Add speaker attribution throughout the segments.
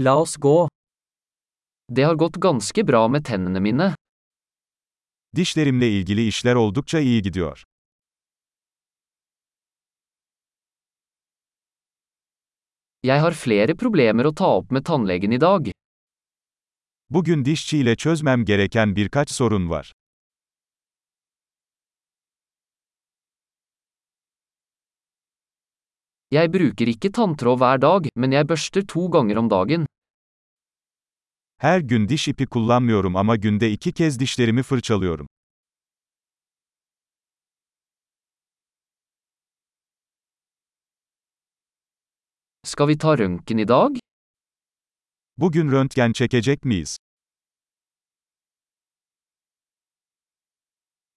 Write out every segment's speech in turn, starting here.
Speaker 1: La oss gå. Det har gått ganske bra med tennene mine.
Speaker 2: Dişlerimle ilgili işler oldukça iyi gidiyor.
Speaker 1: Jeg har flere problemer å ta opp med tannlegen i dag.
Speaker 2: Bugün dişçiyle çözmem gereken birkaç sorun var.
Speaker 1: Jeg bruker ikke tanntråd hver dag, men jeg børster to ganger om dagen.
Speaker 2: Her gün diş ipi kullanmıyorum ama günde iki kez dişlerimi fırçalıyorum.
Speaker 1: Skal vi ta røntgen i dag?
Speaker 2: Bugün röntgen çekecek miyiz?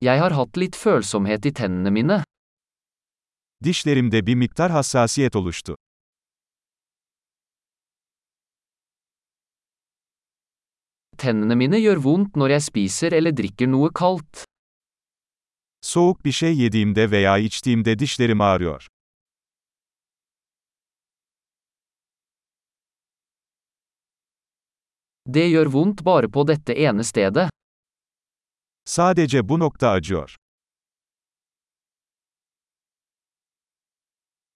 Speaker 1: Jeg har hatt litt følsomhet i tennene mine.
Speaker 2: Dişlerimde bir miktar hassasiyet oluştu.
Speaker 1: Tennene mine gjør vondt når jeg spiser eller drikker noe kaldt.
Speaker 2: Soğuk bir şey yediğimde veya içtiğimde dişlerim ağrıyor.
Speaker 1: Det gjør vondt bare på dette ene stedet.
Speaker 2: Sadece bu nokta acıyor.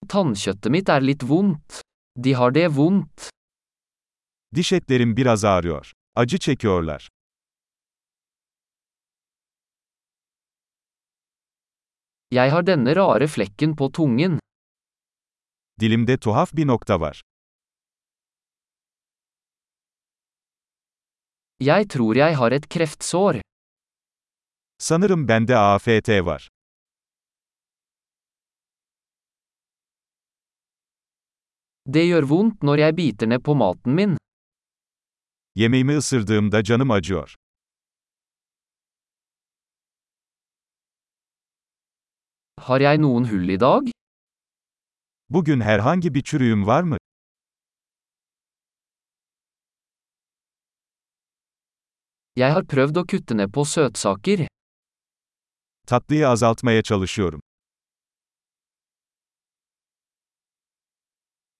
Speaker 1: Tannkjøttet mitt er litt vondt. De har det vondt.
Speaker 2: Diş etlerim biraz ağrıyor. Acı çekiyorlar.
Speaker 1: Jeg har denne rare flekken på tungen.
Speaker 2: Dilimde tuhaf bir nokta var.
Speaker 1: Jeg tror jeg har et kreftsår.
Speaker 2: Sanırım bende AFT var.
Speaker 1: Det gjør vondt når jeg biter ned på maten min.
Speaker 2: Yemeğimi ısırdığımda canım acıyor.
Speaker 1: Har jeg noen hull i dag?
Speaker 2: Bugün herhangi bir çürüğüm var mı?
Speaker 1: Jeg har prøvd å kutte ned på søtsaker.
Speaker 2: Tatlıyı azaltmaya çalışıyorum.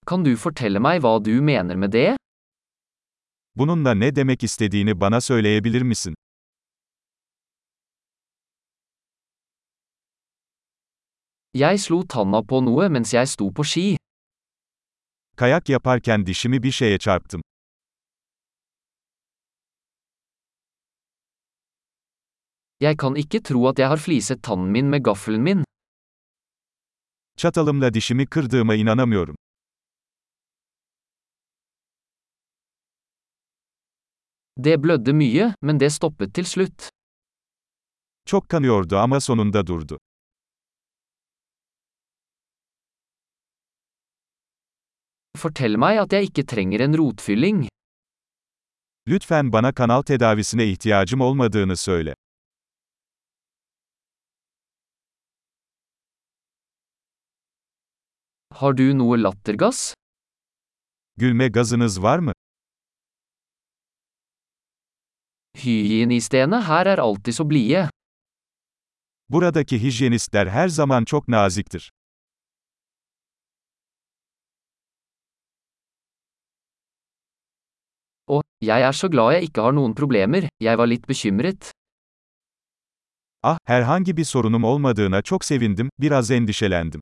Speaker 1: Kan du fortelle meg hva du mener med det?
Speaker 2: Bununla ne demek istediğini bana söyleyebilir misin?
Speaker 1: Jeg slo tanna på noe mens jeg sto på ski.
Speaker 2: Kayak yaparken dişimi bir şeye çarptım.
Speaker 1: Jeg kan ikke tro at jeg har fliset tannen min med gaffelen min.
Speaker 2: Çatalımla dişimi kırdığıma inanamıyorum.
Speaker 1: Det blødde mye, men det stoppet til slutt.
Speaker 2: Çok kanıyordu ama sonunda durdu.
Speaker 1: Fortell meg at jeg ikke trenger en rotfylling.
Speaker 2: Lütfen bana kanal tedavisine ihtiyacım olmadığını söyle.
Speaker 1: Har du noe lattergass?
Speaker 2: Gülme gazınız var mı?
Speaker 1: Hygienistene her er alltid så blide.
Speaker 2: Buradaki hijyenistler her zaman çok naziktir.
Speaker 1: Og, jeg er så glad jeg ikke har noen problemer, jeg var litt bekymret.
Speaker 2: Ah, herhangi bir sorunum olmadığına çok sevindim, biraz endişelendim.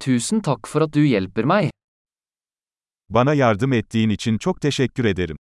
Speaker 1: Tusen takk for at du hjelper meg.
Speaker 2: Bana yardım ettiğin için çok teşekkür ederim.